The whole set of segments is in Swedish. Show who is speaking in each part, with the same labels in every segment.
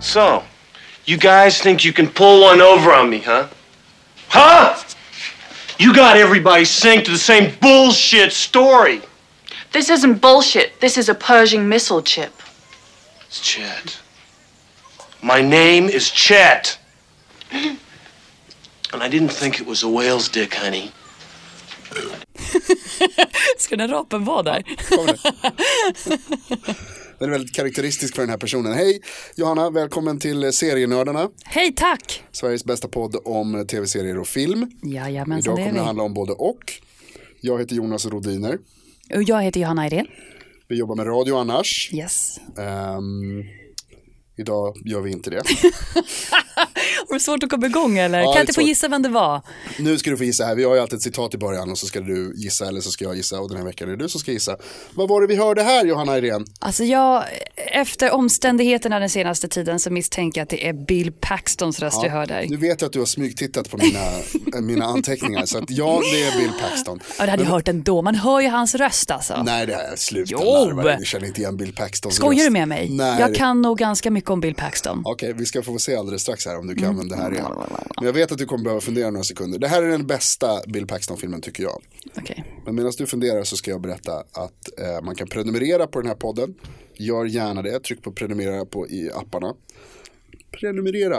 Speaker 1: So, you guys think you can pull one over on me, huh? Huh? You got everybody synced to the same bullshit story.
Speaker 2: This isn't bullshit. This is a Pershing missile chip.
Speaker 1: It's Chet. My name is Chet. And I didn't think it was a whale's dick, honey.
Speaker 3: Ska den rapen vara där?
Speaker 4: Den är väldigt karaktäristisk för den här personen. Hej Johanna, välkommen till Serienördarna,
Speaker 3: Hej, tack!
Speaker 4: Sveriges bästa podd om tv-serier och film.
Speaker 3: Jajamensan,
Speaker 4: Idag
Speaker 3: det är
Speaker 4: kommer det
Speaker 3: vi.
Speaker 4: handla om både och. Jag heter Jonas Rodiner.
Speaker 3: Och jag heter Johanna Irén.
Speaker 4: Vi jobbar med radio annars.
Speaker 3: Yes.
Speaker 4: Ehm, idag gör vi inte det.
Speaker 3: Var det svårt att komma igång eller?
Speaker 4: Ja,
Speaker 3: kan
Speaker 4: det är
Speaker 3: inte få
Speaker 4: svårt.
Speaker 3: gissa vem det var?
Speaker 4: Nu ska du få gissa här, vi har ju alltid ett citat i början och så ska du gissa eller så ska jag gissa och den här veckan är det du som ska gissa. Vad var det vi hörde här Johanna Irén?
Speaker 3: Alltså jag, efter omständigheterna den senaste tiden så misstänker jag att det är Bill Paxtons röst vi hör där.
Speaker 4: Nu vet jag att du har smygtittat på mina, eh, mina anteckningar så att ja, det är Bill Paxton.
Speaker 3: Ja, det hade jag hört ändå. Man hör ju hans röst alltså.
Speaker 4: Nej det är sluta
Speaker 3: Jo.
Speaker 4: larva dig. du känner inte igen Bill Paxtons
Speaker 3: Skojar du
Speaker 4: röst.
Speaker 3: med mig?
Speaker 4: Nej.
Speaker 3: Jag kan nog ganska mycket om Bill Paxton.
Speaker 4: Okej, vi ska få se alldeles strax här om du kan
Speaker 3: Mm.
Speaker 4: använda det här igen. Men jag vet att du kommer behöva fundera några sekunder. Det här är den bästa Bill Paxton-filmen tycker jag.
Speaker 3: Okej.
Speaker 4: Men medan du funderar så ska jag berätta att eh, man kan prenumerera på den här podden. Gör gärna det, tryck på prenumerera på i apparna. Prenumerera.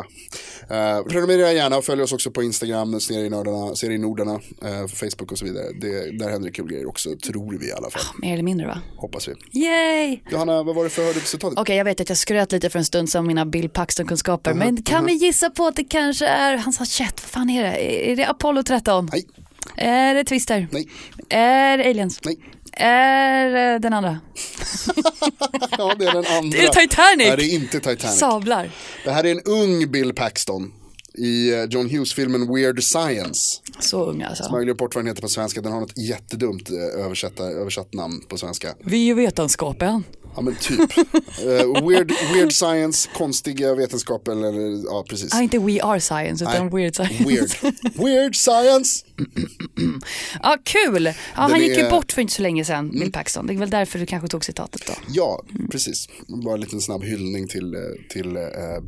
Speaker 4: Eh, prenumerera gärna och följ oss också på Instagram, Serienördarna, Serienordarna, eh, Facebook och så vidare. Det, där händer det kul grejer också, tror vi i alla fall.
Speaker 3: Mer eller mindre va?
Speaker 4: Hoppas vi.
Speaker 3: Yay!
Speaker 4: Johanna, vad var det för hörde på citatet?
Speaker 3: Okej, jag vet att jag skröt lite för en stund sedan om mina Bill Paxton-kunskaper, men kan vi gissa på att det kanske är, han sa shit, vad fan är det? Är det Apollo 13?
Speaker 4: Nej,
Speaker 3: Är det Twister?
Speaker 4: nej,
Speaker 3: Är det Aliens?
Speaker 4: nej.
Speaker 3: Är eh, den andra?
Speaker 4: Ja, det är den andra.
Speaker 3: Är det Titanic?
Speaker 4: Nej, det är inte Titanic.
Speaker 3: Sablar.
Speaker 4: Det här är en ung Bill Paxton i eh, John Hughes-filmen Weird Science.
Speaker 3: Så ung alltså.
Speaker 4: Möjlig bort vad den heter på svenska, den har något jättedumt eh, översätta, översatt namn på svenska.
Speaker 3: Vi är ju vetenskapen.
Speaker 4: Ja men typ. Eh, weird, weird Science, konstiga vetenskaper eller ja precis.
Speaker 3: Ah, inte We Are Science utan
Speaker 4: Nej,
Speaker 3: Weird Science.
Speaker 4: Weird, weird Science.
Speaker 3: Ja, kul. Ja, han
Speaker 4: Den
Speaker 3: gick ju
Speaker 4: är- Mm.
Speaker 3: bort för inte så länge sedan, Bill Paxton. Det är väl därför du kanske tog citatet då.
Speaker 4: Ja, precis. Bara en liten snabb hyllning till, eh, till eh,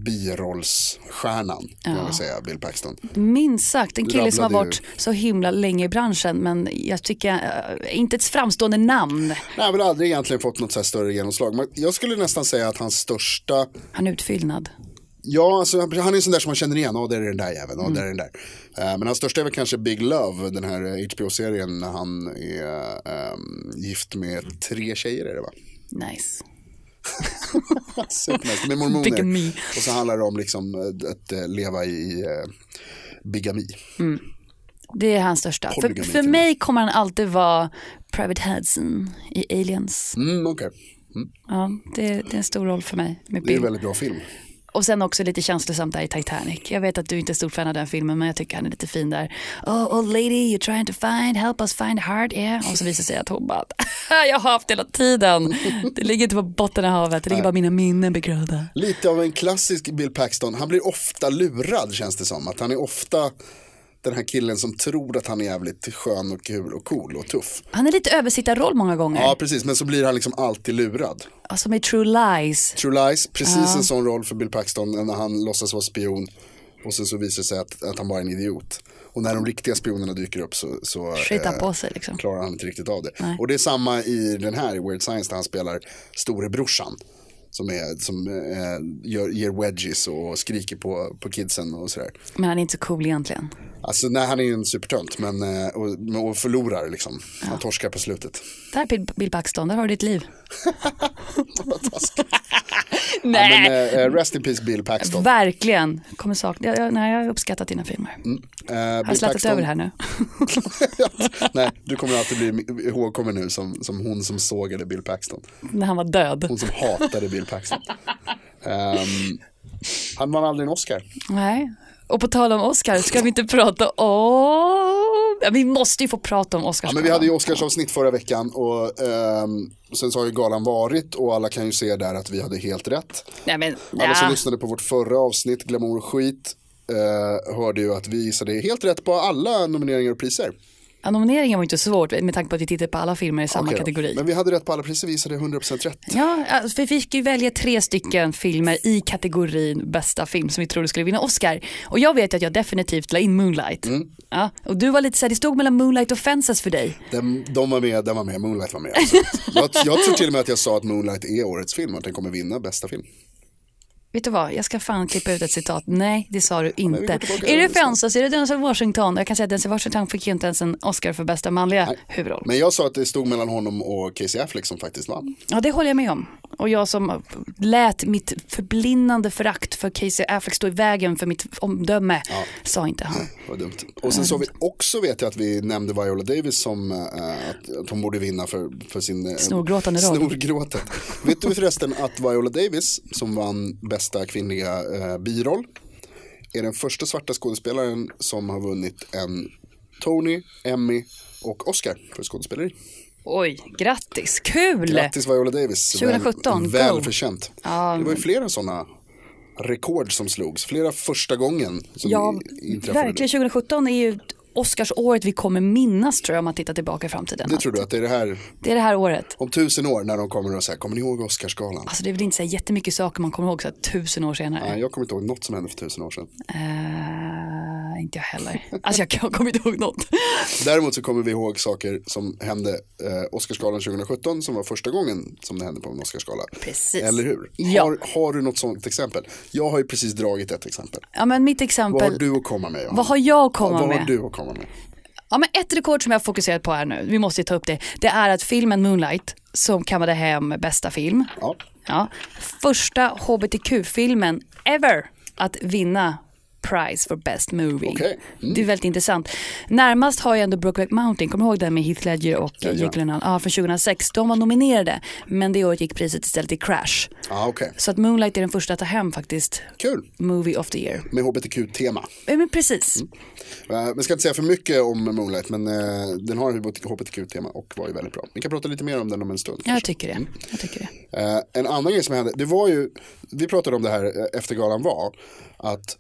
Speaker 4: birollsstjärnan, kan man väl säga, Bill Paxton.
Speaker 3: Minst sagt, en kille som har
Speaker 4: Rabblade
Speaker 3: varit så himla länge i branschen, men jag tycker, eh, inte ett framstående namn.
Speaker 4: Nej, men aldrig egentligen fått något så här större genomslag. Men Jag skulle nästan säga att hans största
Speaker 3: Han är utfyllnad.
Speaker 4: Ja, alltså, han är en sån där som man känner igen. Ja, det är den där jäveln. Ja, det är den där. Eh, men hans största är väl kanske Big Love, den här eh, HBO-serien när han är ehm, gift med tre tjejer är det va?
Speaker 3: Nice.
Speaker 4: Supernice, med
Speaker 3: Bigamy.
Speaker 4: mormoner. Och så handlar det om liksom eh, att eh, leva i eh, bigami.
Speaker 3: Det är hans största. För,
Speaker 4: Polygami
Speaker 3: för
Speaker 4: kan man-
Speaker 3: mig kommer han alltid vara Private Hudson i Aliens.
Speaker 4: Mm, okej.
Speaker 3: Ja, det, det är en stor roll för mig med
Speaker 4: Det är en
Speaker 3: Bill.
Speaker 4: väldigt bra film.
Speaker 3: Och sen också lite känslosamt där i Titanic. Jag vet att du inte är stor fan av den filmen men jag tycker han är lite fin där. Oh old lady you're trying to find, help us find heart, yeah. Och så visar det sig att hon bara, jag har haft hela tiden. Det ligger inte på botten av havet, det ligger bara mina minnen begravda.
Speaker 4: Lite av en klassisk Bill Paxton. Han blir ofta lurad känns det som. Att han är ofta den här killen som tror att han är jävligt skön och kul och cool och tuff.
Speaker 3: Han är lite översittarroll många gånger.
Speaker 4: Ja, precis. Men så blir han liksom alltid lurad.
Speaker 3: Som i True Lies.
Speaker 4: True Lies, precis en sån roll för Bill Paxton när han låtsas vara spion och sen så visar det sig att, att han bara är en idiot. Och när de riktiga spionerna dyker upp så, så
Speaker 3: Skita
Speaker 4: eh,
Speaker 3: på sig liksom.
Speaker 4: klarar han inte riktigt av det. Och det är samma i den här, i Weird Science, där han spelar storebrorsan. Som, är, som eh, gör, ger wedgies och skriker på, på kidsen och sådär.
Speaker 3: Men han är inte så cool egentligen.
Speaker 4: Alltså nej, han är ju en supertönt men, eh, och, och förlorar liksom. Han torskar på slutet.
Speaker 3: Där Bill- Bill Paxton, där har du ditt liv.
Speaker 4: Vad taskigt. Ja, men,
Speaker 3: nej,
Speaker 4: eh, eh, rest in peace Bill Paxton.
Speaker 3: verkligen. Kommer sakna, jag, jag, nej, jag har uppskattat dina filmer.
Speaker 4: Eh,
Speaker 3: Har jag slattat över det här nu?
Speaker 4: Nej, du kommer alltid bli ihågkommen nu som, som hon som sågade Bill Paxton.
Speaker 3: När han var död.
Speaker 4: Hon som hatade Bill Paxton. Ehm, han vann aldrig en Oscar.
Speaker 3: Nej. Och på tal om Oscar, ska vi inte prata om... Ja, vi måste ju få prata om Oscars.
Speaker 4: Ja, men vi hade ju Oscarsavsnitt förra veckan och ehm, sen så har ju galan varit och alla kan ju se där att vi hade helt rätt.
Speaker 3: Nej, men,
Speaker 4: Alla som
Speaker 3: ja.
Speaker 4: lyssnade på vårt förra avsnitt, Glamour och skit, eh, hörde ju att vi gissade helt rätt på alla nomineringar och priser.
Speaker 3: ja, nomineringen var ju inte så svårt med tanke på att vi tittade på alla filmer i samma
Speaker 4: Okej då.
Speaker 3: kategori.
Speaker 4: Men vi hade rätt på alla priser, vi gissade 100% rätt.
Speaker 3: Ja, alltså, vi fick ju välja tre stycken filmer i kategorin bästa film som vi trodde skulle vinna Oscar. Och jag vet ju att jag definitivt la in Moonlight.
Speaker 4: Mm.
Speaker 3: Ja, och du var lite såhär, det stod mellan Moonlight och Fences för dig.
Speaker 4: Den, de var med, den var med, Moonlight var med. Alltså. Jag, jag tror till och med att jag sa att Moonlight är årets film och att den kommer vinna bästa film.
Speaker 3: Vet du vad, jag ska fan klippa ut ett citat. Nej, det sa du
Speaker 4: vi
Speaker 3: inte.
Speaker 4: går tillbaka
Speaker 3: Är det
Speaker 4: till listan.
Speaker 3: Fences, är det Denzel Washington? Jag kan säga att Denzel Washington fick ju inte ens en Oscar för bästa manliga huvudroll.
Speaker 4: Men jag sa att det stod mellan honom och Casey Affleck som faktiskt vann.
Speaker 3: Ja, det håller jag med om. Och jag som lät mitt förblindande förakt för Casey Affleck stå i vägen för mitt omdöme, sa inte han.
Speaker 4: Vad dumt. Och sen så vi också vet jag att vi nämnde Viola Davis som eh, att, att hon borde vinna för, för sin eh,
Speaker 3: Snorgråtande roll.
Speaker 4: Snorgråtet. vet du förresten att Viola Davis som vann bästa kvinnliga eh, biroll är den första svarta skådespelaren som har vunnit en Tony, Emmy och Oscar för skådespeleri.
Speaker 3: Oj, grattis, kul!
Speaker 4: Grattis Viola Davis.
Speaker 3: 2017,
Speaker 4: Väl,
Speaker 3: go.
Speaker 4: väl förtjänt. Det var ju flera sådana rekord som slogs. Flera första gången som
Speaker 3: Ja,
Speaker 4: i- inträffade.
Speaker 3: verkligen. 2017 är ju Oscarsåret vi kommer minnas tror jag om man tittar tillbaka i framtiden.
Speaker 4: Det tror du att det är det här
Speaker 3: Det är det här året.
Speaker 4: om tusen år när de kommer och säger kommer ni ihåg Oscarsgalan?
Speaker 3: Alltså det är väl inte så här jättemycket saker man kommer ihåg så här, tusen år senare.
Speaker 4: Nej, jag kommer inte ihåg något som hände för tusen år sedan.
Speaker 3: Eh, inte jag heller. Alltså jag kan- kommer inte ihåg något.
Speaker 4: Däremot så kommer vi ihåg saker som hände eh, Oscarsgalan 2017 som var första gången som det hände på en Oscarsgala.
Speaker 3: Precis.
Speaker 4: Eller hur?
Speaker 3: Ja.
Speaker 4: Har, har du något sånt exempel? Jag har ju precis dragit ett exempel.
Speaker 3: Ja men mitt
Speaker 4: Vad har
Speaker 3: exempel.
Speaker 4: du att komma med? Johanna?
Speaker 3: Vad har jag att komma
Speaker 4: Vad har
Speaker 3: med?
Speaker 4: du att komma med?
Speaker 3: Ja, men ett rekord som jag har fokuserat på här nu, vi måste ju ta upp det, det är att filmen Moonlight som kammade hem bästa film,
Speaker 4: Ja.
Speaker 3: ja, första hbtq-filmen ever att vinna Prize for Best Movie.
Speaker 4: Okej. Mm.
Speaker 3: Det är väldigt intressant. Närmast har jag ändå Brokeback Mountain, kommer du ihåg den med Heath Ledger och eh, Jake Gyllenhaal? Ja, från 2006. De var nominerade, men det året gick priset istället till Crash.
Speaker 4: Ja, okej.
Speaker 3: Så att Moonlight är den första att ta hem faktiskt,
Speaker 4: Kul.
Speaker 3: Movie of the Year.
Speaker 4: Med hbtq-tema.
Speaker 3: Ja, Men precis.
Speaker 4: Eh, Vi ska inte säga för mycket om Moonlight, men eh, den har hbtq-tema och var ju väldigt bra. Vi kan prata lite mer om den om en stund.
Speaker 3: Jag
Speaker 4: kanske.
Speaker 3: tycker det. Jag tycker det.
Speaker 4: Eh, en annan grej som hände, det var ju, vi pratade om det här eh, efter galan var, att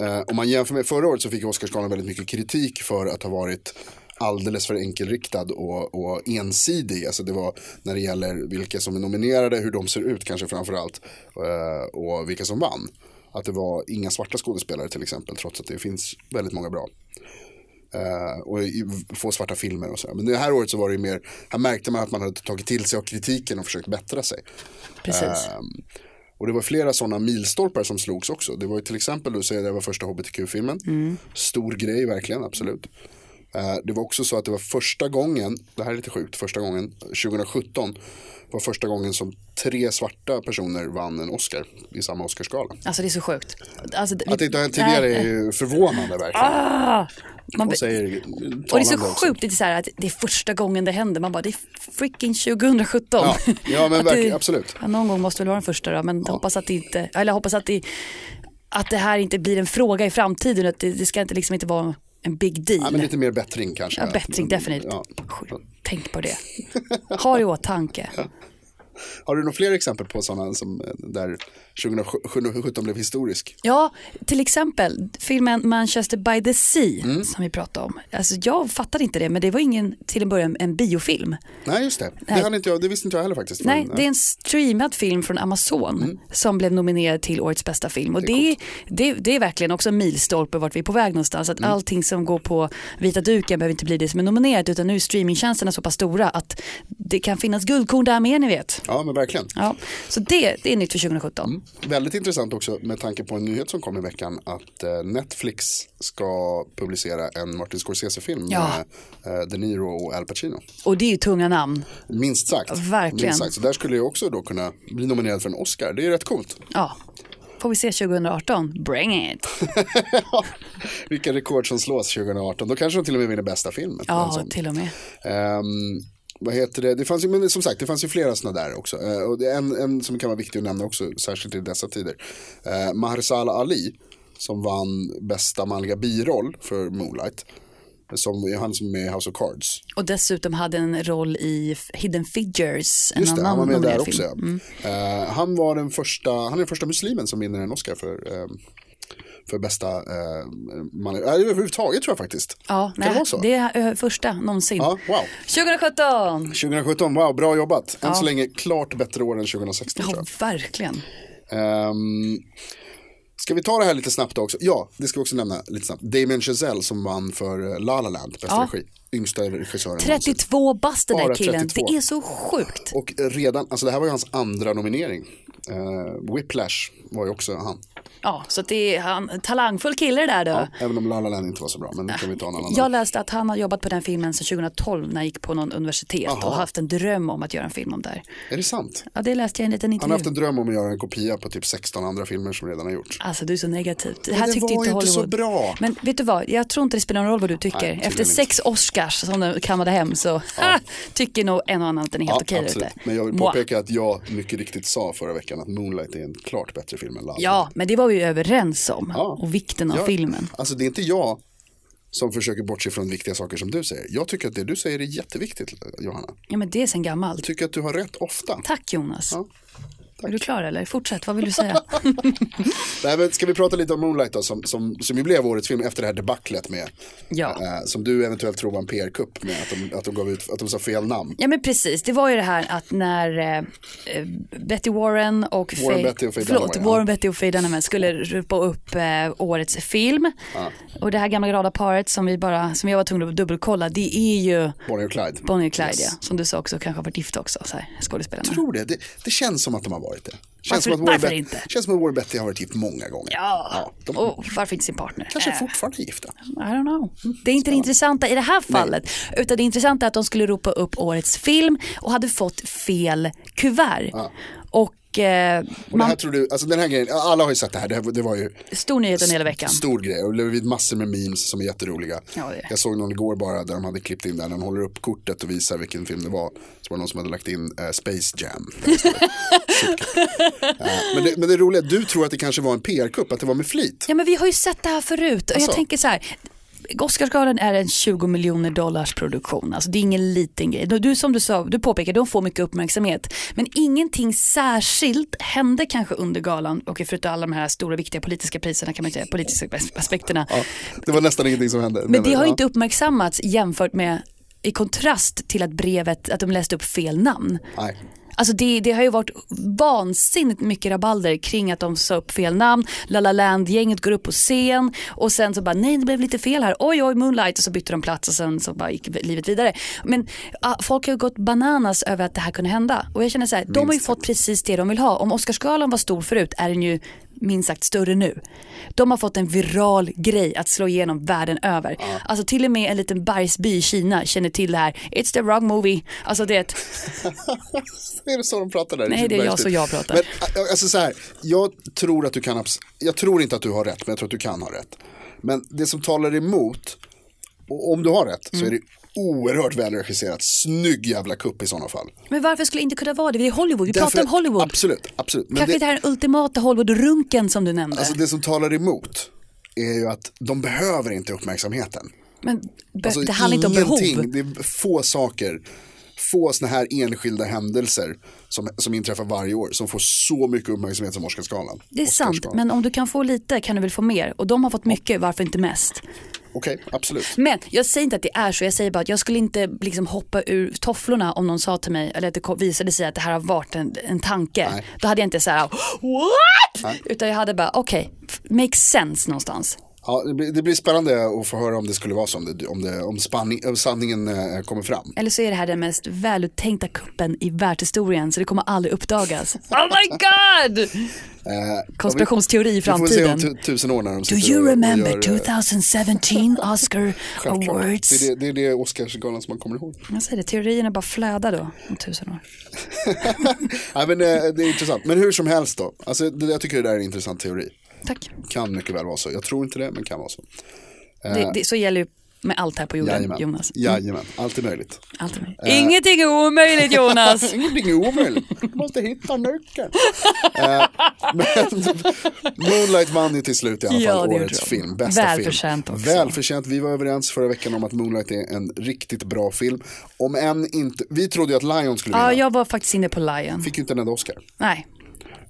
Speaker 4: eh, om man jämför med förra året så fick Oscarsgalan väldigt mycket kritik för att ha varit alldeles för enkelriktad och, och ensidig. Alltså det var när det gäller vilka som är nominerade, hur de ser ut kanske framförallt eh, och vilka som vann. Att det var inga svarta skådespelare till exempel, trots att det finns väldigt många bra. Eh, och i- få svarta filmer och sådär. Men det här året så var det ju mer, här märkte man att man hade tagit till sig av kritiken och försökt bättra sig. Eh.
Speaker 3: Precis.
Speaker 4: Ehm, Och det var flera sådana milstolpar som slogs också. Det var ju till exempel, du säger det var första hbtq-filmen.
Speaker 3: Mm.
Speaker 4: Stor grej verkligen, absolut. Eh, Det var också så att det var första gången, det här är lite sjukt, första gången, 2017 var första gången som tre svarta personer vann en Oscar i samma Oscarsgala.
Speaker 3: Alltså det är så sjukt. Alltså,
Speaker 4: Att det inte har hänt tidigare är ju förvånande verkligen.
Speaker 3: Man,
Speaker 4: och, säger,
Speaker 3: Ah, och det är så
Speaker 4: talande också.
Speaker 3: sjukt, det är, så här att det är första gången det händer. Man bara, det är freaking 2017.
Speaker 4: Ja, ja, men
Speaker 3: Att det-
Speaker 4: verkligen, absolut.
Speaker 3: Ja, någon gång måste väl vara den första då, men jag hoppas att det inte, eller jag hoppas att det, att det här inte blir en fråga i framtiden. Att det, det ska inte, liksom inte vara en big deal.
Speaker 4: Ja, men lite mer bättring kanske. Mm,
Speaker 3: Ja, bättring, definitivt.
Speaker 4: Ja.
Speaker 3: Sjukt. Tänk på det. Ha det i åtanke.
Speaker 4: Har du några fler exempel på sådana som eh, där 2017 blev historisk?
Speaker 3: Ja, till exempel filmen Manchester by the Sea som vi pratade om. Alltså, jag fattade inte det, men det var ingen, till en början en biofilm.
Speaker 4: Nej, just det. Det, hade inte jag, det visste inte jag heller faktiskt.
Speaker 3: Nej,
Speaker 4: Men,
Speaker 3: det är
Speaker 4: eh,
Speaker 3: en streamad film från Amazon som blev nominerad till årets bästa film. Och det, är det, det är verkligen också en milstolpe vart vi är på väg någonstans. Att allting som går på vita duken behöver inte bli det som är nominerat utan nu är streamingtjänsterna så pass stora att det kan finnas guldkorn där med, ni vet.
Speaker 4: Ja, men verkligen.
Speaker 3: Ja, så det, det är nytt för 2017.
Speaker 4: Väldigt intressant också med tanke på en nyhet som kom i veckan att eh, Netflix ska publicera en Martin Scorsese-film
Speaker 3: Ja.
Speaker 4: med eh, De Niro och Al Pacino.
Speaker 3: Och det är ju tunga namn.
Speaker 4: Minst sagt.
Speaker 3: Verkligen.
Speaker 4: Minst sagt. Så där skulle jag också då kunna bli nominerad för en Oscar. Det är rätt coolt.
Speaker 3: Ja. Får vi se 2018? Bring it!
Speaker 4: Vilka rekord som slås 2018. Då kanske de till och med vinner bästa filmen.
Speaker 3: Ja,
Speaker 4: Alltså.
Speaker 3: till och med.
Speaker 4: Ehm, vad heter det? Det fanns ju, men som sagt, det fanns ju flera sådana där också. Eh, och det är en, en som kan vara viktig att nämna också, särskilt i dessa tider. Uh, Mahershala Ali, som vann bästa manliga biroll för Moonlight. Som är han som är med i House of Cards.
Speaker 3: Och dessutom hade en roll i F- Hidden Figures, en
Speaker 4: Just det,
Speaker 3: annan
Speaker 4: han var med där
Speaker 3: nominerad
Speaker 4: också.
Speaker 3: film. Mm.
Speaker 4: ja. Eh, han, var den första, han är den första muslimen som vinner en Oscar för, eh, för bästa eh, man, eh, överhuvudtaget tror jag faktiskt.
Speaker 3: Ja,
Speaker 4: kan det
Speaker 3: nej,
Speaker 4: vara så?
Speaker 3: det är ö, första någonsin.
Speaker 4: Ja, wow.
Speaker 3: 2017!
Speaker 4: 2017, wow, bra jobbat. Än så länge klart bättre år än 2016 tror
Speaker 3: Ja,
Speaker 4: jag.
Speaker 3: verkligen.
Speaker 4: Ehm, ska vi ta det här lite snabbt också? Ja, det ska vi också nämna lite snabbt. Damien Chazelle som vann för eh, La La Land, bästa
Speaker 3: Ja.
Speaker 4: regi. Yngsta regissören någonsin.
Speaker 3: 32 bast den
Speaker 4: Bara
Speaker 3: där killen.
Speaker 4: 32.
Speaker 3: Det är så sjukt.
Speaker 4: Och redan, alltså det här var ju hans andra nominering. Eh, Whiplash var ju också han.
Speaker 3: Ja, så att det är han, en talangfull kille det där då.
Speaker 4: Även om La La Land inte var så bra, men det kan vi ta en annan
Speaker 3: Jag
Speaker 4: dag.
Speaker 3: läste att han har jobbat på den filmen sedan 2012 när jag gick på någon universitet och haft en dröm om att göra en film om det här.
Speaker 4: Är det sant?
Speaker 3: Ja, det läste jag i en liten
Speaker 4: Han har
Speaker 3: intervju.
Speaker 4: haft en dröm om att göra en kopia på typ 16 andra filmer som redan har gjorts.
Speaker 3: Alltså du är så negativ. Det här
Speaker 4: det
Speaker 3: tyckte
Speaker 4: var
Speaker 3: inte
Speaker 4: ju
Speaker 3: Hollywood.
Speaker 4: inte så bra.
Speaker 3: Men vet du vad, jag tror inte det spelar någon roll vad du tycker.
Speaker 4: tydligen
Speaker 3: Efter
Speaker 4: inte.
Speaker 3: sex Oscars som de kammade hem så tycker nog en och annan att den är helt okej ute.
Speaker 4: Men jag vill
Speaker 3: Mwah.
Speaker 4: påpeka att jag mycket riktigt sa förra veckan att Moonlight är en klart bättre film än La La
Speaker 3: Ja, men det var vi ju överens om.
Speaker 4: Ja.
Speaker 3: Och vikten av
Speaker 4: Ja,
Speaker 3: filmen.
Speaker 4: Alltså det är inte jag som försöker bortse från viktiga saker som du säger. Jag tycker att det du säger är jätteviktigt, Johanna.
Speaker 3: Ja, men det är sen gammalt.
Speaker 4: Jag tycker att du har rätt ofta.
Speaker 3: Tack Jonas.
Speaker 4: Ja,
Speaker 3: Är du klar eller? Fortsätt, vad vill du säga?
Speaker 4: Nej, men ska vi prata lite om Moonlight då, som, som, som ju blev årets film efter det här debaclet med,
Speaker 3: Ja.
Speaker 4: eh, som du eventuellt tror var en PR-kupp med att de, att de gav ut, att de sa fel namn.
Speaker 3: Ja men precis, det var ju det här att när eh, eh, Betty Warren och
Speaker 4: Warren,
Speaker 3: Faye-
Speaker 4: Betty och Faye
Speaker 3: förlåt,
Speaker 4: Dunaway, ja.
Speaker 3: Warren, Betty och Faye Dunaway skulle ropa upp eh, årets film. Och det här gamla glada paret som, vi bara, som jag var tvungen att dubbelkolla, det är ju
Speaker 4: Bonnie och Clyde.
Speaker 3: Bonnie och Clyde,
Speaker 4: Yes.
Speaker 3: ja, som du sa också, kanske har varit gifta också, så här, skådespelarna.
Speaker 4: Jag tror det. det. Det känns som att de har varit det.
Speaker 3: Varför-
Speaker 4: Känns som att Warren
Speaker 3: varför
Speaker 4: Bet-
Speaker 3: inte?
Speaker 4: Känns som att Warren Betty har varit gift många gånger.
Speaker 3: Ja,
Speaker 4: de
Speaker 3: och varför inte sin partner?
Speaker 4: kanske
Speaker 3: Eh,
Speaker 4: fortfarande är gifta.
Speaker 3: I don't know. Det är inte det intressanta i det här fallet. Utan det intressanta är att de skulle ropa upp årets film och hade fått fel kuvert. Och, eh,
Speaker 4: Och det här
Speaker 3: man,
Speaker 4: tror du, alltså den här grejen, alla har ju sett det här, det, här, det var ju
Speaker 3: stor nyhet under hela veckan.
Speaker 4: Stor grej och det blev massor med memes som är jätteroliga.
Speaker 3: Ja, det är det.
Speaker 4: Jag såg någon igår bara där de hade klippt in där, de håller upp kortet och visar vilken film det var. Så var det någon som hade lagt in eh, Space Jam. Där det står. Eh, men, det, men det roliga, du tror att det kanske var en PR-kupp, att det var med flit.
Speaker 3: Ja men vi har ju sett det här förut och
Speaker 4: Alltså.
Speaker 3: jag tänker så här. Oscarsgalan är en 20 miljoner dollars produktion, alltså det är ingen liten grej. Du- Du som du sa, du påpekar, de får mycket uppmärksamhet. Men ingenting särskilt hände kanske under galan, och förutom alla de här stora viktiga politiska priserna kan man ju säga, politiska as- aspekterna.
Speaker 4: Ja, det var nästan ingenting som hände.
Speaker 3: Men det har ju
Speaker 4: ja.
Speaker 3: inte uppmärksammats jämfört med, i kontrast till att brevet, att de läste upp fel namn.
Speaker 4: Nej.
Speaker 3: Alltså det, det har ju varit vansinnigt mycket rabalder kring att de sa upp fel namn. La La Land-gänget går upp på scen och sen så bara nej det blev lite fel här. Oj oj Moonlight och så bytte de plats och sen så bara gick livet vidare. Men ah, folk har ju gått bananas över att det här kunde hända. Och jag känner så här, de har ju fått precis det de vill ha. Om Oscarsgalan var stor förut är den ju minst sagt större nu. De har fått en viral grej att slå igenom världen över. Alltså till och med en liten bergsby i Kina känner till det här. It's the wrong movie. Alltså det är ett
Speaker 4: Är det så de pratar där? i
Speaker 3: Nej, det är
Speaker 4: Kinbergs
Speaker 3: jag så
Speaker 4: tid?
Speaker 3: jag pratar.
Speaker 4: Men, äh, alltså, så här, jag tror att du kan, abs- jag tror inte att du har rätt, men jag tror att du kan ha rätt. Men det som talar emot, och om du har rätt,
Speaker 3: Mm.
Speaker 4: så är det oerhört välregisserat, snygg jävla kupp i sådana fall.
Speaker 3: Men varför skulle det inte kunna vara det? Vi är Hollywood, vi
Speaker 4: Därför-
Speaker 3: pratar om Hollywood.
Speaker 4: Absolut, absolut. Men
Speaker 3: Kanske
Speaker 4: det,
Speaker 3: det... här är den ultimata Hollywood-runken som du nämnde.
Speaker 4: alltså, det som talar emot är ju att de behöver inte uppmärksamheten.
Speaker 3: men be-
Speaker 4: Alltså,
Speaker 3: det handlar inte om behov.
Speaker 4: ingenting. Det är få saker, få sådana här enskilda händelser som, som inträffar varje år som får så mycket uppmärksamhet som Oscarsgalan.
Speaker 3: Det är sant,
Speaker 4: Oscarsgalan.
Speaker 3: men om du kan få lite kan du väl få mer. Och de har fått mycket, varför inte mest?
Speaker 4: Okej, absolut.
Speaker 3: Men jag säger inte att det är så, jag säger bara att jag skulle inte liksom hoppa ur tofflorna om någon sa till mig, eller att det ko- visade sig att det här har varit en, en tanke. Då hade jag inte så här, what? Utan jag hade bara, okej, f- makes sense någonstans.
Speaker 4: Ja, det, blir, det blir spännande att få höra om det skulle vara så, om, det, om, det, om, spanning, om sanningen eh, kommer fram.
Speaker 3: Eller så är det här den mest väluttänkta kuppen i världshistorien så det kommer aldrig uppdagas. Oh my god!
Speaker 4: Eh,
Speaker 3: Konspirationsteori i
Speaker 4: Vi får väl se
Speaker 3: framtiden.
Speaker 4: om tu- tusen år när de
Speaker 3: Do
Speaker 4: sitter och-
Speaker 3: you
Speaker 4: och
Speaker 3: remember
Speaker 4: gör, eh,
Speaker 3: 2017 Oscar
Speaker 4: självklart.
Speaker 3: Awards?
Speaker 4: Det är det, det, är det Oscarsgalan som man kommer ihåg.
Speaker 3: Jag säger det, teorierna bara flödar då om tusen år.
Speaker 4: Nej, men, eh, det är intressant. Men hur som helst då. Alltså, det, jag tycker det där är en intressant teori.
Speaker 3: Tack.
Speaker 4: Kan mycket väl vara så. Jag tror inte det, men kan vara så.
Speaker 3: Det, det, så gäller ju med allt här på jorden,
Speaker 4: Eh, Jajamän. Eh,
Speaker 3: Jonas. Mm.
Speaker 4: Jajamän, allt är möjligt.
Speaker 3: Allt är möjligt. Ingenting är omöjligt, Jonas.
Speaker 4: Ingenting är omöjligt. Du måste hitta nyckeln. Eh, men Moonlight vann ju till slut i alla fall
Speaker 3: Ja, det gjorde
Speaker 4: årets
Speaker 3: de.
Speaker 4: film. Bästa
Speaker 3: Välförtjänt
Speaker 4: film.
Speaker 3: också.
Speaker 4: Välförtjänt. Vi var överens förra veckan om att Moonlight är en riktigt bra film. Om än inte, vi trodde ju att Lion skulle vinna.
Speaker 3: Ja, jag var faktiskt inne på Lion.
Speaker 4: Fick ju inte en enda Oscar.
Speaker 3: Nej,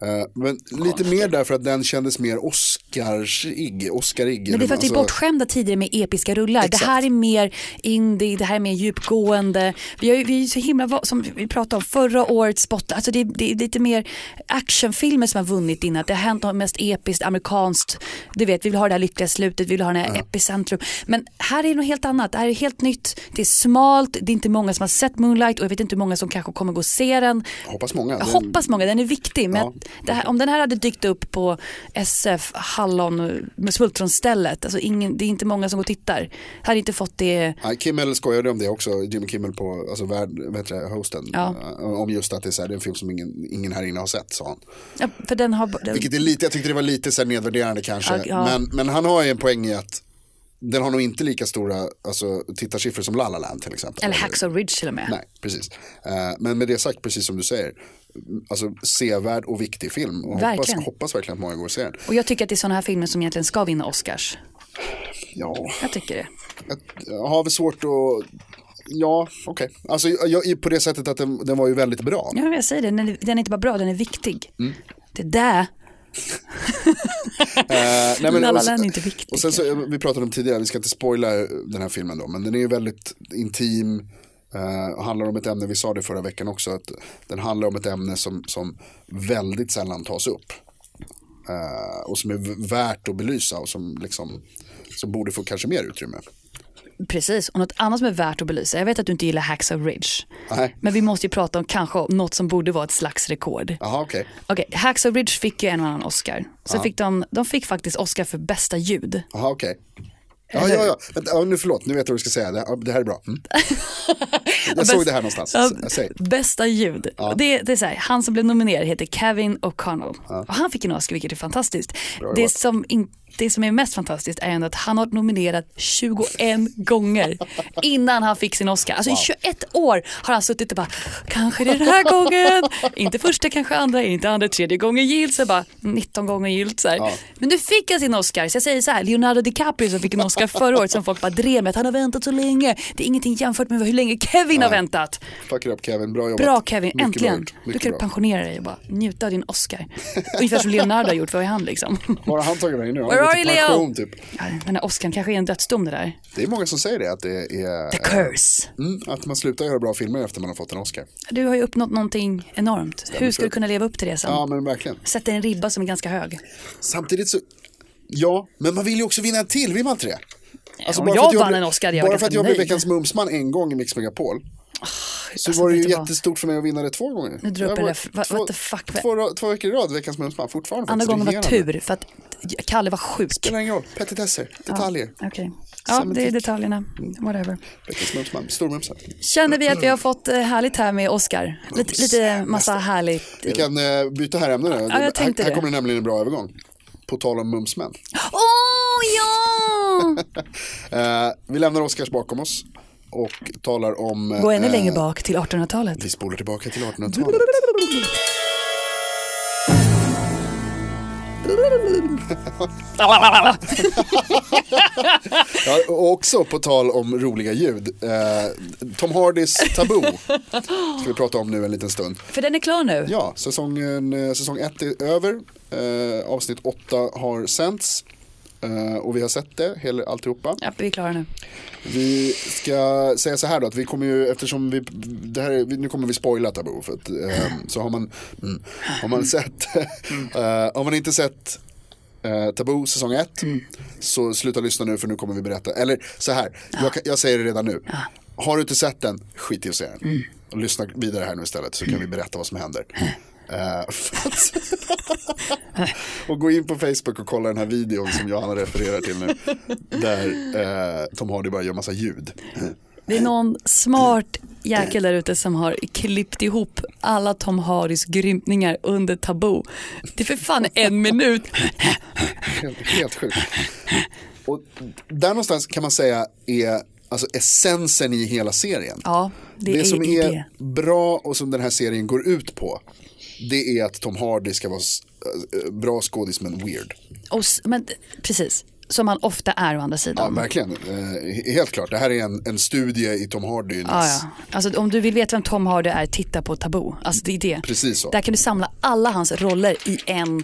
Speaker 4: Eh, Men lite mer därför att den kändes mer Oscarsig. Oscarig.
Speaker 3: men det är för att vi är bortskämda tidigare med episka rullar.
Speaker 4: alltså- Exakt.
Speaker 3: Det här är mer indie, det här är mer djupgående. Vi är ju vi är ju så himla, va- som vi pratade om förra året, spot, alltså det, är, det är lite mer actionfilmer som har vunnit innan. Det har hänt något mest episkt, amerikanskt, du vet, vi vill ha det här lyckliga slutet, vi vill ha den här epicentrum. Men här är det något helt annat, det här är helt nytt, det är smalt, det är inte många som har sett Moonlight och jag vet inte hur många som kanske kommer gå och se den.
Speaker 4: Hoppas många.
Speaker 3: Jag
Speaker 4: Den-
Speaker 3: hoppas många, den är viktig. Men
Speaker 4: Ja.
Speaker 3: det här, om den här hade dykt upp på SF Hallon med Smultronstället, alltså ingen, det är inte många som går och tittar. Hade inte fått det,
Speaker 4: Nej, Kimmel skojade om det också, Jimmy Kimmel på, alltså värd, vet jag, hosten,
Speaker 3: Ja.
Speaker 4: Eh, om just att det är, så här, det är en film som ingen, ingen här inne har sett, sa han.
Speaker 3: ja, för den har, den,
Speaker 4: Vilket är lite, jag tyckte det var lite så här nedvärderande kanske,
Speaker 3: Ja, ja.
Speaker 4: Men, men han har ju en poäng i att den har nog inte lika stora alltså, tittarsiffror som La La Land till exempel.
Speaker 3: eller Hacksaw Ridge till och med.
Speaker 4: Nej, precis. Eh, Men med det sagt, precis som du säger, alltså sevärd och viktig film. Och hoppas,
Speaker 3: Verkligen.
Speaker 4: hoppas verkligen att många går och ser den.
Speaker 3: Och jag tycker att det är sådana här filmer som egentligen ska vinna Oscars.
Speaker 4: Ja,
Speaker 3: Jag tycker det.
Speaker 4: Ett- har vi svårt att... Ja, okej. Alltså jag, jag, på det sättet att den, den var ju väldigt bra.
Speaker 3: Ja, men jag säger det, den är, den är inte bara bra, den är viktig.
Speaker 4: Mm.
Speaker 3: Det där,
Speaker 4: Eh, nej,
Speaker 3: La La
Speaker 4: och sen-
Speaker 3: Land är inte viktig,
Speaker 4: Och sen så, vi pratade om tidigare, vi ska inte spoila den här filmen då, men den är ju väldigt intim. eh, och handlar om ett ämne, vi sa det förra veckan också, att den handlar om ett ämne som, som väldigt sällan tas upp. Eh, och som är v- värt att belysa och som, liksom, som borde få kanske mer utrymme.
Speaker 3: precis. Och något annat som är värt att belysa, jag vet att du inte gillar Hacksaw Ridge.
Speaker 4: Nej.
Speaker 3: Men vi måste ju prata om kanske om något som borde vara ett slags rekord.
Speaker 4: Jaha, okej.
Speaker 3: Okej, Hacksaw Ridge fick ju en och annan Oscar. Så fick de, de fick faktiskt Oscar för bästa ljud.
Speaker 4: Jaha, okej. Ja, ja, ja. Vänta, ja, nu förlåt, nu vet jag vad du ska säga. Det, ja, det här är bra. Mm. Jag såg det här någonstans.
Speaker 3: Ja,
Speaker 4: S- Säg.
Speaker 3: Bästa ljud. Det, det är så här, han som blev nominerad heter Kevin O'Connell. Och han fick en Oscar vilket är fantastiskt. Det som, in, det som är mest fantastiskt är ändå att han har varit nominerad 21 gånger innan han fick sin Oscar. Alltså i 21 år har han suttit och bara, kanske det är den här gången. inte första, kanske andra, inte andra, tredje gången gillt. Så bara, 19 gånger gillt. Så här. Men nu fick han sin Oscar. Så jag säger så här, Leonardo DiCaprio som fick en Oscar förra året som folk bara drev med att han har väntat så länge. Det är ingenting jämfört med hur länge Kevin har väntat.
Speaker 4: Fuck it up Kevin, bra jobbat.
Speaker 3: Bra Kevin,
Speaker 4: Mycket bra
Speaker 3: äntligen.
Speaker 4: gjort,
Speaker 3: du
Speaker 4: mycket
Speaker 3: kan
Speaker 4: bra.
Speaker 3: pensionera dig och bara njuta av din Oscar. Ungefär som Leonardo har gjort, vad är han liksom?
Speaker 4: Var har han tagit vägen nu? Han
Speaker 3: Where
Speaker 4: har
Speaker 3: are
Speaker 4: gått i
Speaker 3: you, Leo?
Speaker 4: pension, Typ.
Speaker 3: Ja, Den här Oscarn kanske är en dödsdom det där.
Speaker 4: Det är många som säger det, att, det är,
Speaker 3: The curse.
Speaker 4: mm, att man slutar göra bra filmer efter man har fått en Oscar.
Speaker 3: Du har ju uppnått någonting enormt. Hur ska du kunna leva upp till det sen?
Speaker 4: Ja, men verkligen.
Speaker 3: Sätta en ribba som är ganska hög.
Speaker 4: Samtidigt så, ja, men man vill ju också vinna en till, vill man inte det? Alltså,
Speaker 3: om
Speaker 4: bara för
Speaker 3: jag
Speaker 4: att
Speaker 3: vann
Speaker 4: blev-
Speaker 3: en Oscar hade jag
Speaker 4: Bara
Speaker 3: varit
Speaker 4: för att jag blev
Speaker 3: nöjd.
Speaker 4: veckans mumsman en gång i Mix Megapol. Så
Speaker 3: alltså,
Speaker 4: var det
Speaker 3: vet
Speaker 4: ju
Speaker 3: du vad?
Speaker 4: jättestort för mig att vinna det två gånger.
Speaker 3: Nu drar jag upp
Speaker 4: Jag
Speaker 3: en
Speaker 4: var
Speaker 3: ref- va-
Speaker 4: två-
Speaker 3: what the fuck?
Speaker 4: Två, ra- två veckor i rad, veckans mumsman, fortfarande.
Speaker 3: Andra
Speaker 4: faktiskt.
Speaker 3: gången var
Speaker 4: Regerande.
Speaker 3: tur för att Kalle var sjuk.
Speaker 4: spelar ingen roll, petitesser, detaljer.
Speaker 3: Okej, ja det är detaljerna.
Speaker 4: Mm.
Speaker 3: Whatever.
Speaker 4: Veckans mumsman, stormumsen.
Speaker 3: Känner vi att vi har fått eh, härligt här med Oscar? Lite, lite massa härligt.
Speaker 4: Vi kan eh, byta här ämne nu.
Speaker 3: jag tänkte
Speaker 4: här, här
Speaker 3: det.
Speaker 4: kommer det nämligen en bra övergång. På tal om mumsmän.
Speaker 3: Åh ja!
Speaker 4: Eh, vi lämnar Oscars bakom oss och talar om... eh,
Speaker 3: Gå ännu längre bak till 1800-talet.
Speaker 4: Vi spolar tillbaka till 1800-talet. Ja, och också på tal om roliga ljud. Eh, Tom Hardys Taboo ska vi prata om nu en liten stund.
Speaker 3: För den är klar nu.
Speaker 4: Ja, säsongen, eh, säsong ett är över. Eh, avsnitt åtta har sänts. Eh, och vi har sett det, hela, alltihopa.
Speaker 3: Ja, vi är klara nu.
Speaker 4: Vi ska säga så här då, att vi kommer ju, eftersom vi, det här, är- nu kommer vi spoila Taboo, för att, ehm, så har man, mm, har man sett, eh, har man inte sett eh, Taboo säsong 1. Så sluta lyssna nu för nu kommer vi berätta. Eller så här, jag, kan- jag säger det redan nu. Har du inte sett den, skit i att se den. Och lyssna vidare här nu istället så kan vi berätta vad som händer. Eh, för att- och gå in på Facebook och kolla den här videon som Johanna refererar till nu. Där eh, Tom Hardy bara gör massa ljud.
Speaker 3: Det är någon smart jäkel där ute som har klippt ihop alla Tom Hardys grymtningar under Taboo. Det är för fan en minut.
Speaker 4: Helt, helt sjukt. Och där någonstans kan man säga är alltså essensen i hela serien.
Speaker 3: Ja, det, är
Speaker 4: som
Speaker 3: i
Speaker 4: är
Speaker 3: det.
Speaker 4: bra och som den här serien går ut på. Det är att Tom Hardy ska vara s- äh, bra skådis men weird.
Speaker 3: Och, s- men, precis, som han ofta är å andra
Speaker 4: Ja,
Speaker 3: sidan.
Speaker 4: verkligen. Mm. Eh, helt klart. Det här är en, en studie i Tom Hardys.
Speaker 3: Ja, ja. Alltså, om du vill veta vem Tom Hardy är, titta på Taboo. Alltså, det är det.
Speaker 4: Precis så.
Speaker 3: Där kan du samla alla hans roller i en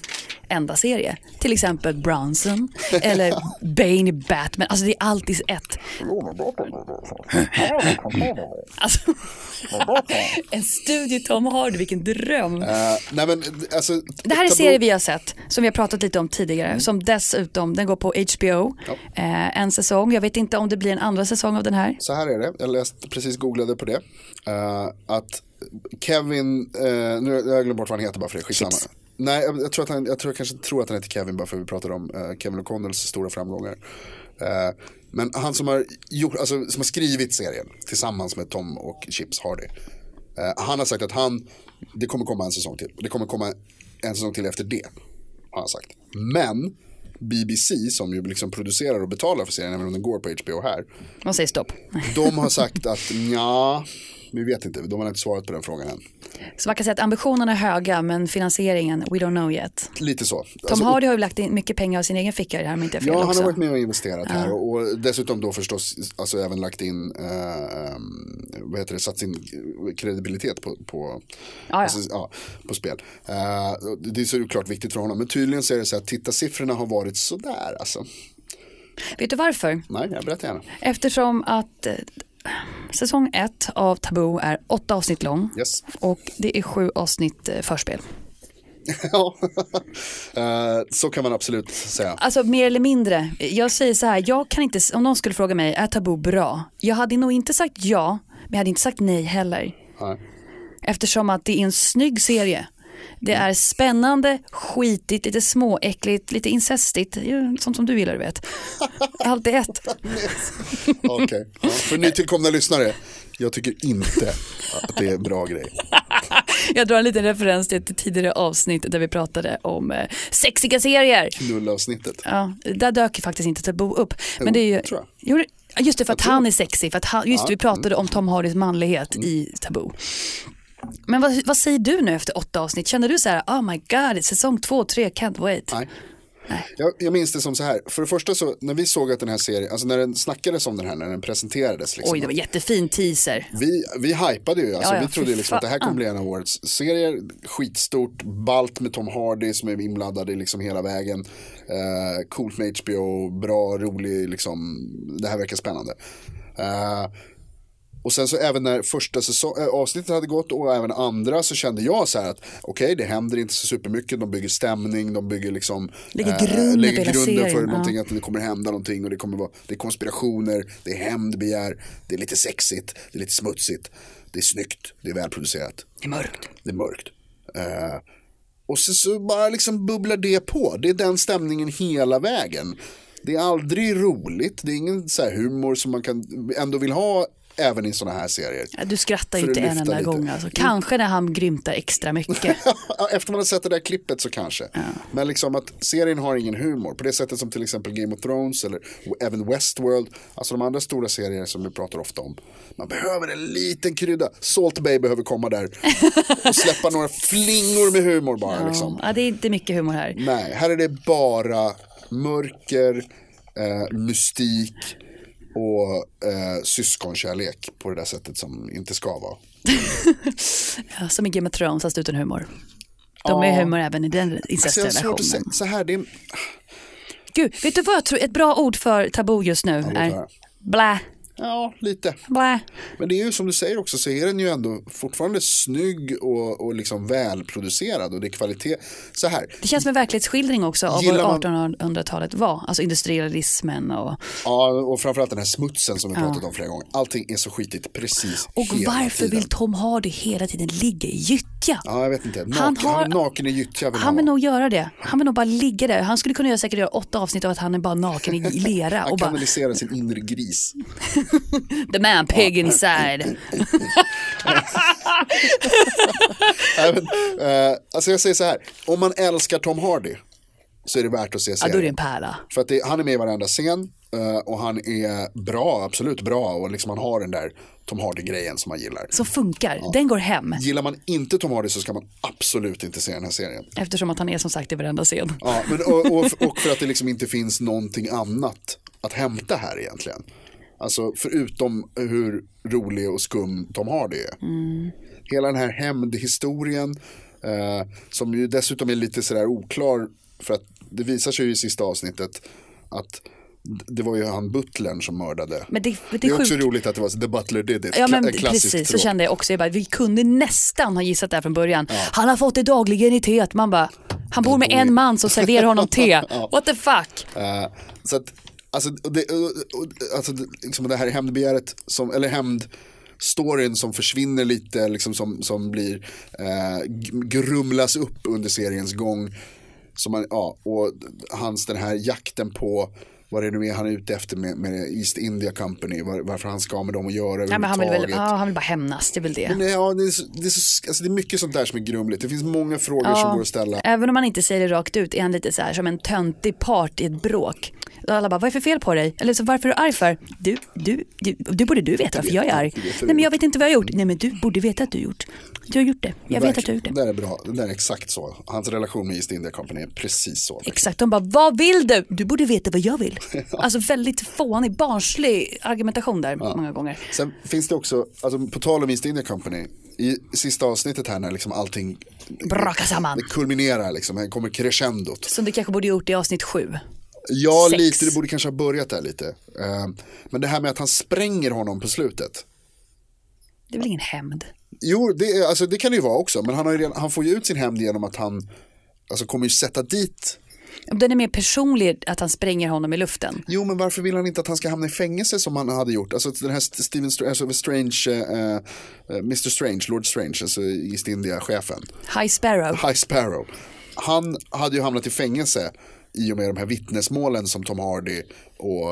Speaker 3: enda serie. Till exempel Bronson eller Bane i Batman. Alltså det är alltid ett. Alltså, en studie Tom Hardy, vilken dröm.
Speaker 4: Eh, nej men alltså.
Speaker 3: Det här är
Speaker 4: Taboo- Mm.
Speaker 3: serier vi har sett, som vi har pratat lite om tidigare, som dessutom, den går på HBO, eh, en säsong. Jag vet inte om det blir en andra säsong av den här.
Speaker 4: Så här är det, jag läste, precis googlade på det. Eh, att Kevin, eh, nu har jag glömt bort vad han heter bara för det, skitsamma.
Speaker 3: Chips.
Speaker 4: Nej, jag, jag, tror att han, jag, tror, jag kanske tror att han heter Kevin bara för vi pratade om eh, Kevin O'Connells stora framgångar. Eh, men han som har, gjort, alltså, som har skrivit serien tillsammans med Tom och Chips Hardy. eh, han har sagt att han, det kommer komma en säsong till. Det kommer komma en säsong till efter det. Har han sagt. Men BBC som ju liksom producerar och betalar för serien även om den går på HBO här.
Speaker 3: Man säger stopp.
Speaker 4: De har sagt att ja, vi vet inte, de har inte svarat på den frågan än.
Speaker 3: Så man kan säga att ambitionerna är höga, men finansieringen, we don't know yet.
Speaker 4: Lite så.
Speaker 3: Tom Hardy har ju lagt in mycket pengar av sin egen ficka i det här om inte jag fel
Speaker 4: Alltså, Ja, han
Speaker 3: också.
Speaker 4: har varit med och investerat här och, och dessutom då förstås alltså även lagt in, eh, vad heter det, satt sin kredibilitet på, på,
Speaker 3: ja.
Speaker 4: alltså, ja, på spel. Eh, och det är såklart viktigt för honom, men tydligen så är det så att tittarsiffrorna har varit sådär alltså.
Speaker 3: Vet du varför?
Speaker 4: Nej, jag berättar gärna.
Speaker 3: Eftersom att eh, säsong ett av Taboo är åtta avsnitt lång
Speaker 4: Yes.
Speaker 3: och det är sju avsnitt eh, förspel.
Speaker 4: ja, Eh, så kan man absolut säga.
Speaker 3: Alltså mer eller mindre, jag säger så här, jag kan inte, om någon skulle fråga mig, är Taboo bra? Jag hade nog inte sagt ja, men jag hade inte sagt nej heller.
Speaker 4: Nej.
Speaker 3: Eftersom att det är en snygg serie. Det
Speaker 4: Mm.
Speaker 3: är spännande, skitigt, lite småäckligt, lite incestigt, ju sånt som du gillar du vet. Allt i ett.
Speaker 4: Okej, ja, för nytillkomna lyssnare. Jag tycker inte att det är en bra grej.
Speaker 3: Jag drar en liten referens till ett tidigare avsnitt där vi pratade om eh, sexiga serier.
Speaker 4: Nullavsnittet.
Speaker 3: Ja, där dök ju faktiskt inte Taboo upp. Men
Speaker 4: Jo,
Speaker 3: det är ju,
Speaker 4: tror
Speaker 3: Jo, det- just det, för att han är sexig. För att han, just det, vi
Speaker 4: mm.
Speaker 3: pratade om Tom Hardys manlighet i Taboo. Men vad, vad säger du nu efter åtta avsnitt? Känner du så här, oh my god, säsong två, tre, can't wait.
Speaker 4: Nej. Jag, jag minns det som så här. För det första så, när vi såg att den här serien, alltså när den snackades om den här, när den presenterades. Liksom,
Speaker 3: Oj, det var jättefin teaser.
Speaker 4: vi, vi hypade ju, alltså,
Speaker 3: Ja, ja,
Speaker 4: vi trodde
Speaker 3: fy
Speaker 4: liksom att det här
Speaker 3: fan.
Speaker 4: kommer bli en av årets serier. Skitstort, balt med Tom Hardy som är inblandad i liksom hela vägen. Eh, coolt med HBO, bra, rolig, liksom, det här verkar spännande. Eh, och sen så även när första säsong, äh, avsnittet hade gått och även andra så kände jag så här att okej det händer inte så supermycket, de bygger stämning, de bygger liksom
Speaker 3: Lägger
Speaker 4: eh,
Speaker 3: grunden för
Speaker 4: lägger
Speaker 3: hela
Speaker 4: grunden för
Speaker 3: serien,
Speaker 4: någonting,
Speaker 3: ja.
Speaker 4: att det kommer hända någonting och det kommer vara, det är konspirationer, det är hämndbegär, det är lite sexigt, det är lite smutsigt, det är snyggt, det är välproducerat,
Speaker 3: Det är mörkt.
Speaker 4: det är mörkt. Eh, och så, så bara liksom bubblar det på. Det är den stämningen hela vägen. Det är aldrig roligt. Det är ingen så här humor som man kan ändå vill ha även i sådana här serier.
Speaker 3: Ja, Du skrattar ju
Speaker 4: För att
Speaker 3: inte en
Speaker 4: lyfta
Speaker 3: enda
Speaker 4: lite.
Speaker 3: gång alltså. Kanske när han grymtar extra mycket.
Speaker 4: Efter man har sett det där klippet så kanske. Men liksom att serien har ingen humor. På det sättet som till exempel Game of Thrones eller även Westworld. Alltså de andra stora serier som vi pratar ofta om. Man behöver en liten krydda. Salt Bay behöver komma där. Och släppa några flingor med humor bara. Liksom. Mm.
Speaker 3: Ja, det är inte mycket humor här.
Speaker 4: Nej, här är det bara mörker, eh, mystik och eh, syskonkärlek på det där sättet som inte ska vara.
Speaker 3: Ja, Som i Game of Thrones, fast utan humor. De är humor även i den
Speaker 4: Så Alltså, jag har svårt att säga,
Speaker 3: incest-relationen.
Speaker 4: så här, det är,
Speaker 3: Gud, vet du vad jag tror? Ett bra ord för tabu just nu
Speaker 4: låt
Speaker 3: är
Speaker 4: höra.
Speaker 3: blä.
Speaker 4: Ja, lite.
Speaker 3: Blä.
Speaker 4: Men det är ju som du säger också så är den ju ändå fortfarande snygg och, och liksom välproducerad och det är kvalitet. Så här,
Speaker 3: Det känns som en verklighetsskildring också av
Speaker 4: Gillar man-
Speaker 3: vad 1800-talet var. Alltså industrialismen och...
Speaker 4: ja, och framförallt den här smutsen som vi pratat om flera gånger. Allting är så skitigt precis
Speaker 3: Och
Speaker 4: hela
Speaker 3: varför
Speaker 4: tiden.
Speaker 3: vill Tom Hardy hela tiden ligga i gyttja?
Speaker 4: Ja, jag vet inte. Naken, han
Speaker 3: Han har-
Speaker 4: är naken i gyttja vill
Speaker 3: Han vill
Speaker 4: vara.
Speaker 3: nog göra det. Han vill nog bara ligga där. Han skulle kunna göra, säkert göra åtta avsnitt av att han är bara naken i lera
Speaker 4: Han
Speaker 3: och bara
Speaker 4: kanaliserar sin inre gris.
Speaker 3: the man pig inside.
Speaker 4: Nej, men, eh, alltså jag säger så här, om man älskar Tom Hardy så är det värt att se
Speaker 3: Ja,
Speaker 4: serien.
Speaker 3: då är det en pärla.
Speaker 4: För att det, han är med i varenda scen eh, och han är bra, absolut bra och liksom han har den där Tom Hardy-grejen som man gillar.
Speaker 3: Som funkar. Den går hem.
Speaker 4: Gillar man inte Tom Hardy så ska man absolut inte se den här serien.
Speaker 3: Eftersom att han är som sagt i varenda scen.
Speaker 4: Ja, men, och, och, och för att det liksom inte finns någonting annat att hämta här egentligen. Alltså förutom hur rolig och skum Tom Hardy är.
Speaker 3: Mm.
Speaker 4: Hela den här hämndhistorien eh, som ju dessutom är lite sådär oklar för att det visar sig ju i sista avsnittet att d- det var ju han butlern som mördade.
Speaker 3: Men det- det är
Speaker 4: är också
Speaker 3: sjukt.
Speaker 4: roligt att det var så, the butler did it.
Speaker 3: Ja men
Speaker 4: Kla- en klassisk
Speaker 3: precis, så
Speaker 4: tråd.
Speaker 3: kände jag också. Jag bara, vi kunde nästan ha gissat det här från början. Han har fått det dagligen i teet. Man bara, han bor med en man som serverar honom te. What the fuck?
Speaker 4: Eh, så att, alltså, och det, och- och- alltså det- liksom det här hämndbegäret, som, eller hämndstoryn som försvinner lite, liksom som, som blir, eh, g- grumlas upp under seriens gång. Som man, ja, och hans den här jakten på vad det nu är han är ute efter med, med East India Company, var, varför han ska ha med dem att göra
Speaker 3: Nej, men han, vill väl,
Speaker 4: överhuvudtaget.
Speaker 3: ja, han vill bara hämnas, det är väl det.
Speaker 4: Nej, ja, det, är så, det, är så, alltså det är mycket sånt där som är grumligt. Det finns många frågor som går att ställa.
Speaker 3: Även om man inte säger det rakt ut är han lite så här som en töntig part i ett bråk. Och Alla bara, vad är det för fel på dig? Eller så, varför är du arg för? Du, du, du, du borde du veta varför jag är arg. Nej men jag vet inte vad jag har gjort. Nej men du borde veta att du har gjort. Du har gjort det. Jag vet att du har gjort det.
Speaker 4: Det där är bra, det där är exakt så. Hans relation med East India Company är precis så.
Speaker 3: Exakt, de bara, vad vill du? Du borde veta vad jag vill. Alltså väldigt fånig, barnslig argumentation där många gånger.
Speaker 4: Sen finns det också, alltså på tal om East India Company, i sista avsnittet här när liksom allting
Speaker 3: Brakar samman.
Speaker 4: Det kulminerar liksom, här kommer crescendot.
Speaker 3: Som du kanske borde gjort i avsnitt sju.
Speaker 4: Ja,
Speaker 3: Sex.
Speaker 4: lite, det borde kanske ha börjat där lite. Eh, Men det här med att han spränger honom på slutet.
Speaker 3: Det är väl ingen hämnd?
Speaker 4: Jo, det, är- alltså, det kan det ju vara också, men han, har ju redan, han får ju ut sin hämnd genom att han alltså, kommer ju sätta dit
Speaker 3: Om Den är mer personlig, att han spränger honom i luften.
Speaker 4: Jo, men varför vill han inte att han ska hamna i fängelse som han hade gjort? Alltså den här St- Steven Str- alltså, Strange, eh, eh, Mr Strange, Lord Strange, alltså East India-chefen,
Speaker 3: High Sparrow.
Speaker 4: High Sparrow. Han hade ju hamnat i fängelse i och med de här vittnesmålen som Tom Hardy och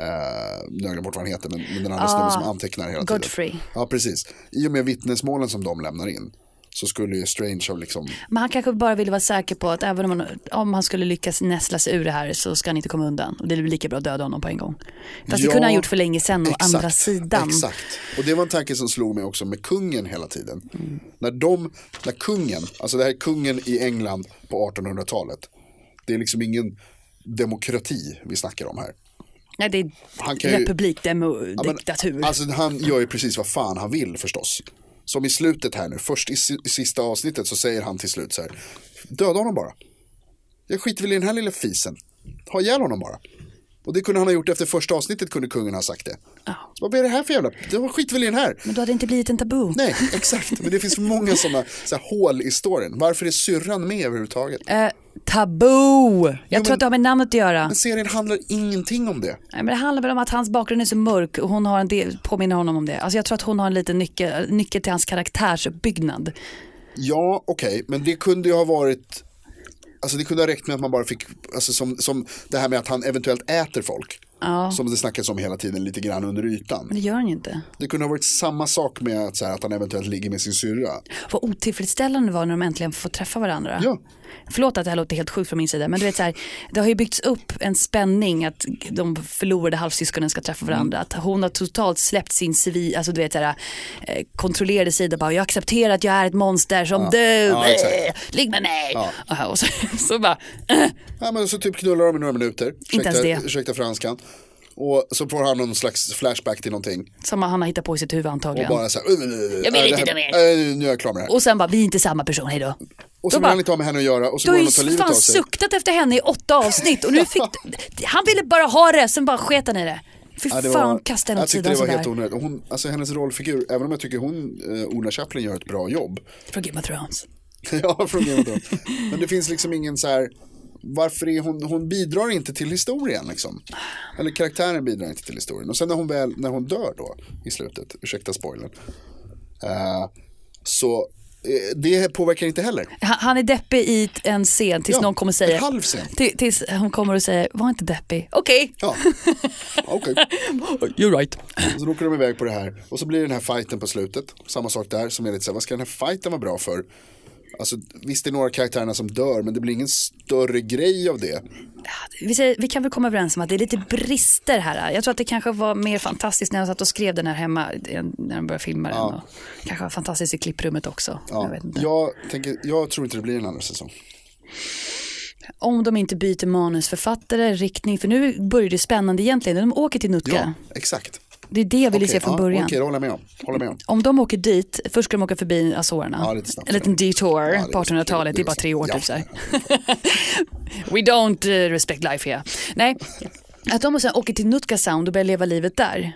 Speaker 4: eh, nu har jag glömt bort vad han heter, men, men den andra snubben som antecknar hela tiden.
Speaker 3: Godfrey.
Speaker 4: Ja, precis. I och med vittnesmålen som de lämnar in så skulle ju Strange ha liksom
Speaker 3: Men han kanske bara ville vara säker på att även om han, om han skulle lyckas näsla sig ur det här så ska han inte komma undan. Och det blir lika bra att döda honom på en gång. Fast det kunde han gjort för länge sedan å
Speaker 4: exakt,
Speaker 3: andra sidan.
Speaker 4: Exakt, och det var en tanke som slog mig också med kungen hela tiden. När de, när kungen, alltså det här är kungen i England på 1800-talet. Det är liksom ingen demokrati vi snackar om här.
Speaker 3: Nej, det är
Speaker 4: Han kan ju-
Speaker 3: republik, demo,
Speaker 4: Ja, men,
Speaker 3: diktatur.
Speaker 4: Alltså han gör ju precis vad fan han vill förstås. Som i slutet här nu, först i si- i sista avsnittet så säger han till slut så här. Döda honom bara. Jag skiter väl i den här lilla fisen. Ha ihjäl honom bara. Och det kunde han ha gjort efter första avsnittet kunde kungen ha sagt det. Vad är det här för jävla, du skiter väl i den här.
Speaker 3: Men då hade det inte blivit en tabu.
Speaker 4: Nej, exakt. Men det finns för många sådana så här, hål i storyn. Varför är syrran med överhuvudtaget?
Speaker 3: Eh, tabu! Jag tror
Speaker 4: men-
Speaker 3: att det har med namnet att göra.
Speaker 4: Men serien handlar ingenting om det.
Speaker 3: Nej, men det handlar väl om att hans bakgrund är så mörk och hon har en del, påminner honom om det. Alltså jag tror att hon har en liten nyckel, nyckel till hans karaktärsuppbyggnad.
Speaker 4: Ja, okej, men det kunde ju ha varit Alltså det kunde ha räckt med att man bara fick, alltså som, som det här med att han eventuellt äter folk. Som det snackas om hela tiden lite grann under ytan.
Speaker 3: Men det gör han ju inte.
Speaker 4: Det kunde ha varit samma sak med att, så här, att han eventuellt ligger med sin syrra.
Speaker 3: Vad otillfredsställande det var när de äntligen får träffa varandra.
Speaker 4: Ja.
Speaker 3: Förlåt att det här låter helt sjukt från min sida, men du vet så här, det har ju byggts upp en spänning att de förlorade halvsyskonen ska träffa
Speaker 4: Mm.
Speaker 3: varandra. Att hon har totalt släppt sin civil, alltså du vet så här, eh, kontrollerade sida bara, jag accepterar att jag är ett monster som du,
Speaker 4: Ja, exakt.
Speaker 3: Eh, ligg med mig. Ja, Och så, så bara, eh,
Speaker 4: Ja, men så typ knullar de i några minuter.
Speaker 3: Inte ens
Speaker 4: Ursäkta-
Speaker 3: det.
Speaker 4: Ursäkta franskan. Och så får han någon slags flashback till någonting.
Speaker 3: som han har hittat på i sitt huvud
Speaker 4: Och
Speaker 3: antagligen.
Speaker 4: bara så här, "Ugh, ugh, ugh,
Speaker 3: Jag vill
Speaker 4: äh,
Speaker 3: inte,
Speaker 4: det här-
Speaker 3: jag
Speaker 4: äh, Nu är jag klar med det här.
Speaker 3: Och sen bara, vi är inte samma person, hejdå.
Speaker 4: Och så
Speaker 3: då
Speaker 4: vill
Speaker 3: bara-
Speaker 4: han inte ha med henne att göra och så
Speaker 3: Du
Speaker 4: går
Speaker 3: har
Speaker 4: han och tar
Speaker 3: ju
Speaker 4: livet av
Speaker 3: fan
Speaker 4: sig.
Speaker 3: suktat efter henne i åtta avsnitt och nu fick, han ville bara ha det, sen bara sket han i det. Fy
Speaker 4: Ja, det
Speaker 3: fan,
Speaker 4: var-
Speaker 3: kasta henne
Speaker 4: Jag
Speaker 3: åt
Speaker 4: tyckte
Speaker 3: sidan
Speaker 4: det var
Speaker 3: sådär.
Speaker 4: helt onödigt. Och Hon, alltså hennes rollfigur, även om jag tycker hon, eh, Ola Chaplin gör ett bra jobb.
Speaker 3: Från Game of Thrones.
Speaker 4: ja, från Game of Thrones. Men det finns liksom ingen så här, varför är hon, hon bidrar inte till historien liksom. Eller karaktären bidrar inte till historien. Och sen när hon väl, när hon dör då i slutet, ursäkta spoilern. eh, så eh, det påverkar inte heller.
Speaker 3: Han, han är deppig i t- en scen tills
Speaker 4: Ja,
Speaker 3: någon kommer och säger.
Speaker 4: en halv scen.
Speaker 3: Till- Tills hon kommer och säger, var inte deppig. Okej.
Speaker 4: Ja, okej.
Speaker 3: You're right.
Speaker 4: Och Så då åker de iväg på det här och så blir det den här fighten på slutet. Samma sak där som är lite så här, vad ska den här fighten vara bra för? Alltså visst det är några av karaktärerna som dör men det blir ingen större grej av det.
Speaker 3: Vi, säger, vi kan väl komma överens om att det är lite brister här. Jag tror att det kanske var mer fantastiskt när jag satt och skrev den här hemma. eh, När de började filma den. Och kanske var fantastiskt i klipprummet också. Jag
Speaker 4: Ja.
Speaker 3: vet inte.
Speaker 4: Jag, tänker, jag tror inte det blir en andra säsong.
Speaker 3: Om de inte byter manusförfattare, riktning. För nu börjar det spännande egentligen. De åker till Nutka.
Speaker 4: Ja, exakt.
Speaker 3: Det är det jag ville
Speaker 4: Okej,
Speaker 3: se från
Speaker 4: ja,
Speaker 3: början.
Speaker 4: Okej, det håller jag med om. Håller med om.
Speaker 3: Om de åker dit, först ska de åka förbi Azorerna.
Speaker 4: Ja, lite snabbt.
Speaker 3: en liten detour
Speaker 4: Ja, det
Speaker 3: på
Speaker 4: är-
Speaker 3: 1800-talet, det är bara tre år
Speaker 4: Ja.
Speaker 3: typ så här. We don't eh, respect life here. Nej, att de sen åker till Nutka Sound och börjar leva livet där.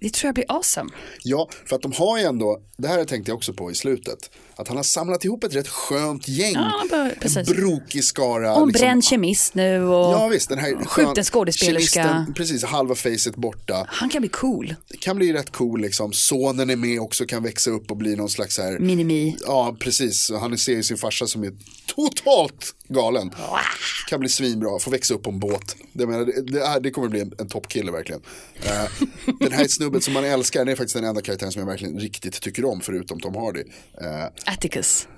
Speaker 3: Det tror jag blir awesome.
Speaker 4: Mm. Ja, för att de har ju ändå, det här tänkte jag också på i slutet, att han har samlat ihop ett rätt skönt gäng.
Speaker 3: Ja, bara-
Speaker 4: en
Speaker 3: precis.
Speaker 4: brokig skara.
Speaker 3: Och en
Speaker 4: liksom-
Speaker 3: bränd kemist nu och
Speaker 4: Ja visst, den här skön-
Speaker 3: skjuten skådespelerska.
Speaker 4: kemisten, Precis, halva facet borta.
Speaker 3: Han kan bli cool.
Speaker 4: Det kan bli rätt cool liksom. Sonen är med också, kan växa upp och bli någon slags så här.
Speaker 3: Minimi.
Speaker 4: Ja, precis. Han ser ju sin farsa som är totalt galen. Kan bli svinbra, får växa upp på en båt. Det, menar, det, det, är- det kommer bli en, en toppkille verkligen. Eh, den här snubben som man älskar, det är faktiskt den enda karaktären som jag verkligen riktigt tycker om, förutom Tom Hardy. Eh,
Speaker 3: Atticus.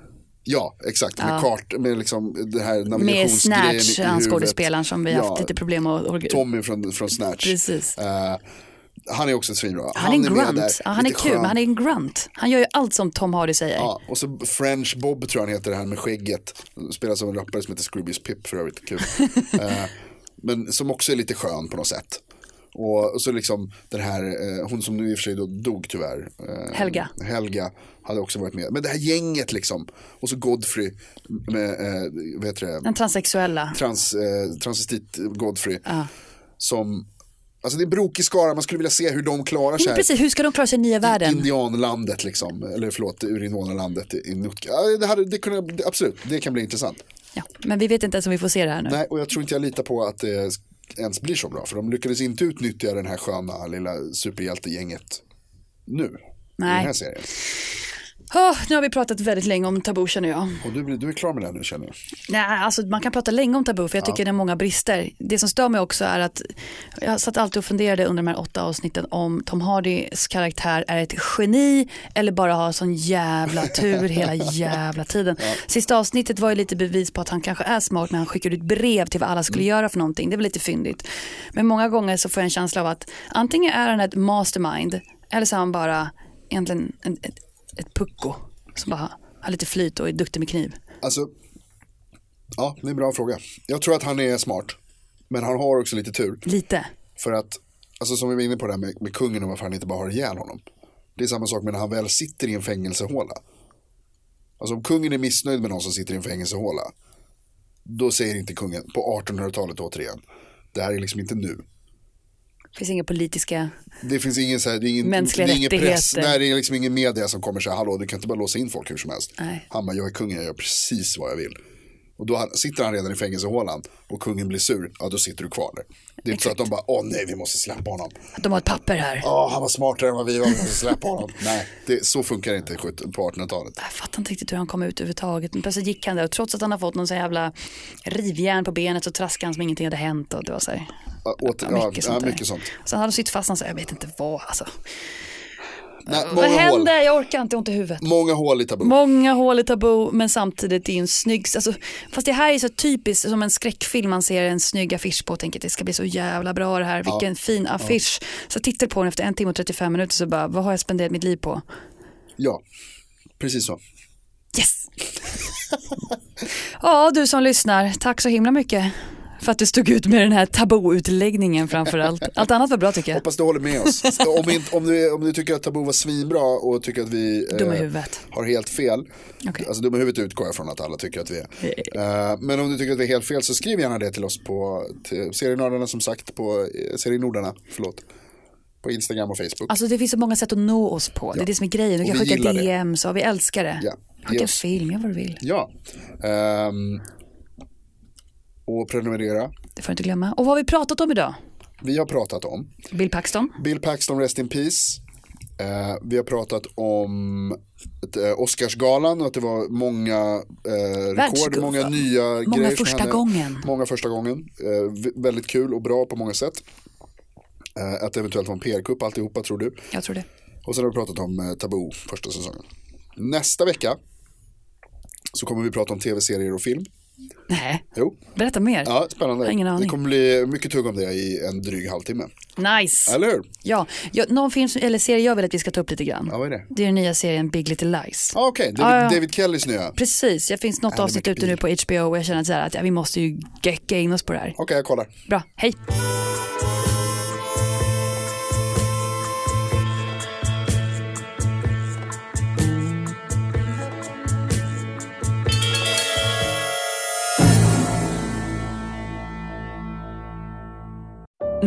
Speaker 4: ja, exakt. Med kart, med liksom det här navigationsgrejen
Speaker 3: Med Snatch,
Speaker 4: i
Speaker 3: han
Speaker 4: huvudet.
Speaker 3: skådespelaren som vi har haft
Speaker 4: Ja,
Speaker 3: lite problem med. att-
Speaker 4: Tommy från, från Snatch.
Speaker 3: Precis.
Speaker 4: Eh, han är också svinbra.
Speaker 3: Han är en
Speaker 4: med
Speaker 3: grunt.
Speaker 4: där,
Speaker 3: Ja, han är
Speaker 4: lite
Speaker 3: kul,
Speaker 4: skön.
Speaker 3: men han är en grunt. Han gör ju allt som Tom Hardy säger.
Speaker 4: Ja, och så French Bob tror jag han heter, det här med skägget. Spelas av en rappare som heter Scroobius Pip för övrigt. Kul. Eh, men som också är lite skön på något sätt. Och, och så liksom den här, eh, hon som nu i och för sig då dog tyvärr. eh,
Speaker 3: Helga.
Speaker 4: Helga hade också varit med. Men det här gänget liksom. Och så Godfrey, med, eh, vad heter det?
Speaker 3: Den transsexuella.
Speaker 4: trans, eh, transvestit Godfrey. Som, alltså det är en brokig skara, man skulle vilja se hur de klarar sig.
Speaker 3: Men
Speaker 4: här.
Speaker 3: Mm, precis, hur ska de klara sig i nya världen?
Speaker 4: Indianlandet liksom, eller förlåt, urinvånarlandet i Nutka. Ja, Det, hade, det kunde, det- absolut, det kan bli intressant.
Speaker 3: Ja, men vi vet inte ens om vi får se det här nu.
Speaker 4: Nej, och jag tror inte jag litar på att det ens blir så bra, för de lyckades inte utnyttja den här sköna lilla superhjältegänget nu. I den
Speaker 3: Nej.
Speaker 4: här serien.
Speaker 3: Åh, nu har vi pratat väldigt länge om Tabu känner jag.
Speaker 4: Och du, blir- du är klar med det här nu känner jag.
Speaker 3: Nej, alltså, man kan prata länge om Tabu för jag tycker det är många brister. Det som stör mig också är att jag satt alltid och funderade under de här åtta avsnitten om Tom Hardys karaktär är ett geni eller bara har sån jävla tur hela jävla tiden. Sista avsnittet var ju lite bevis på att han kanske är smart när han skickar ut brev till vad alla skulle göra för någonting. Det var lite fyndigt. Men många gånger så får jag en känsla av att antingen är han ett mastermind eller så är han bara egentligen en, ett, ett pucko som bara har lite flyt och är duktig med kniv.
Speaker 4: Alltså, ja, det är en bra fråga. Jag tror att han är smart, men han har också lite tur.
Speaker 3: Lite.
Speaker 4: För att, alltså som vi var inne på det här med, med kungen och varför han inte bara har ihjäl honom. Det är samma sak med när han väl sitter i en fängelsehåla. Alltså om kungen är missnöjd med någon som sitter i en fängelsehåla. Då säger inte kungen, på 1800-talet återigen. Det här är liksom inte nu.
Speaker 3: finns inga politiska...
Speaker 4: Det finns ingen, så här, det är ingen,
Speaker 3: Mänskliga
Speaker 4: det är ingen press,
Speaker 3: rättigheter.
Speaker 4: nej, det är liksom ingen media som kommer säga hallå du kan inte bara låsa in folk hur som helst.
Speaker 3: Nej.
Speaker 4: Han bara, jag är kungen, jag gör precis vad jag vill. Och då han, sitter han redan i fängelsehålan och kungen blir sur, ja då sitter du kvar där. Det är inte så att de bara, åh nej vi måste släppa honom.
Speaker 3: Att de har ett papper här.
Speaker 4: Ja, han var smartare än vad vi var. Vi måste släppa honom. Nej, det, så funkar det inte i sjut- på 1800-talet.
Speaker 3: Jag fattar inte riktigt hur han kom ut överhuvudtaget. Men plötsligt gick han där och trots att han har fått någon så jävla rivjärn på benet så traskade han som ingenting hade hänt. Och det var så här,
Speaker 4: Ja, åter-
Speaker 3: ja,
Speaker 4: ja, ja,
Speaker 3: där.
Speaker 4: mycket sånt.
Speaker 3: Sen hade de sytt fast han så här, jag vet inte vad alltså.
Speaker 4: Nej,
Speaker 3: Vad
Speaker 4: många, hål,
Speaker 3: händer? Jag orkar inte, jag har ont i huvudet.
Speaker 4: många hål i tabu.
Speaker 3: Många hål i tabu men samtidigt det är ju en snygg, alltså, fast det här är så typiskt som en skräckfilm man ser en snygg affisch på och tänker att det ska bli så jävla bra det här, vilken fin affisch. Så tittar jag på den efter en timme och 35 minuter så bara, vad har jag spenderat mitt liv på?
Speaker 4: ja, precis så.
Speaker 3: Yes! ja, du som lyssnar, tack så himla mycket för att du stod ut med den här tabuutläggningen framför allt. Allt annat var bra tycker jag.
Speaker 4: Hoppas du håller med oss. om, inte, om, du, om du tycker att tabu var svinbra och tycker att vi eh,
Speaker 3: Dumma i huvudet.
Speaker 4: har helt fel.
Speaker 3: Okej.
Speaker 4: Alltså dumma i huvudet utgår jag från att alla tycker att vi är. Eh, men om du tycker att vi är helt fel så skriv gärna det till oss på till serienördarna som sagt på eh, serienordarna. Förlåt. på Instagram och Facebook.
Speaker 3: Alltså det finns så många sätt att nå oss på. Det är det som är grejen. Du
Speaker 4: Och
Speaker 3: kan
Speaker 4: vi
Speaker 3: skicka
Speaker 4: gillar det.
Speaker 3: DM, så vi älskar det.
Speaker 4: Ja.
Speaker 3: Skicka
Speaker 4: Ge
Speaker 3: en
Speaker 4: oss-
Speaker 3: film, gör vad du vill.
Speaker 4: Ja. Ehm, och prenumerera.
Speaker 3: Det får du inte glömma. Och vad har vi pratat om idag?
Speaker 4: Vi har pratat om
Speaker 3: Bill Paxton.
Speaker 4: Bill Paxton, Rest in Peace. Eh, vi har pratat om ett, eh, Oscarsgalan och att det var många eh, rekord,
Speaker 3: Världsguld,
Speaker 4: många
Speaker 3: va?
Speaker 4: nya
Speaker 3: Många
Speaker 4: grejer. som
Speaker 3: första
Speaker 4: hände.
Speaker 3: gången.
Speaker 4: Många första gången. Eh, v- väldigt kul och bra på många sätt. Eh, att det eventuellt var en PR-kupp alltihopa tror du.
Speaker 3: Jag tror det.
Speaker 4: Och sen har vi pratat om eh, Taboo första säsongen. Nästa vecka så kommer vi prata om tv-serier och film.
Speaker 3: Nej,
Speaker 4: Jo,
Speaker 3: berätta mer.
Speaker 4: ja, spännande.
Speaker 3: Jag har ingen aning.
Speaker 4: Det kommer bli mycket tugg om det i en dryg halvtimme.
Speaker 3: Nice.
Speaker 4: Eller hur?
Speaker 3: Ja, ja, någon film som- eller serie jag vill att vi ska ta upp lite grann.
Speaker 4: Ja, vad är det?
Speaker 3: Det är den nya serien Big Little Lies.
Speaker 4: Ah, Okej, David, David Kellys nya. Okej,
Speaker 3: Precis, det finns något
Speaker 4: Äh, det är
Speaker 3: avsnitt
Speaker 4: mycket
Speaker 3: ute nu på HBO och jag känner att, så här att ja, vi måste ju gecka in oss på det här.
Speaker 4: jag kollar.
Speaker 3: Bra, hej!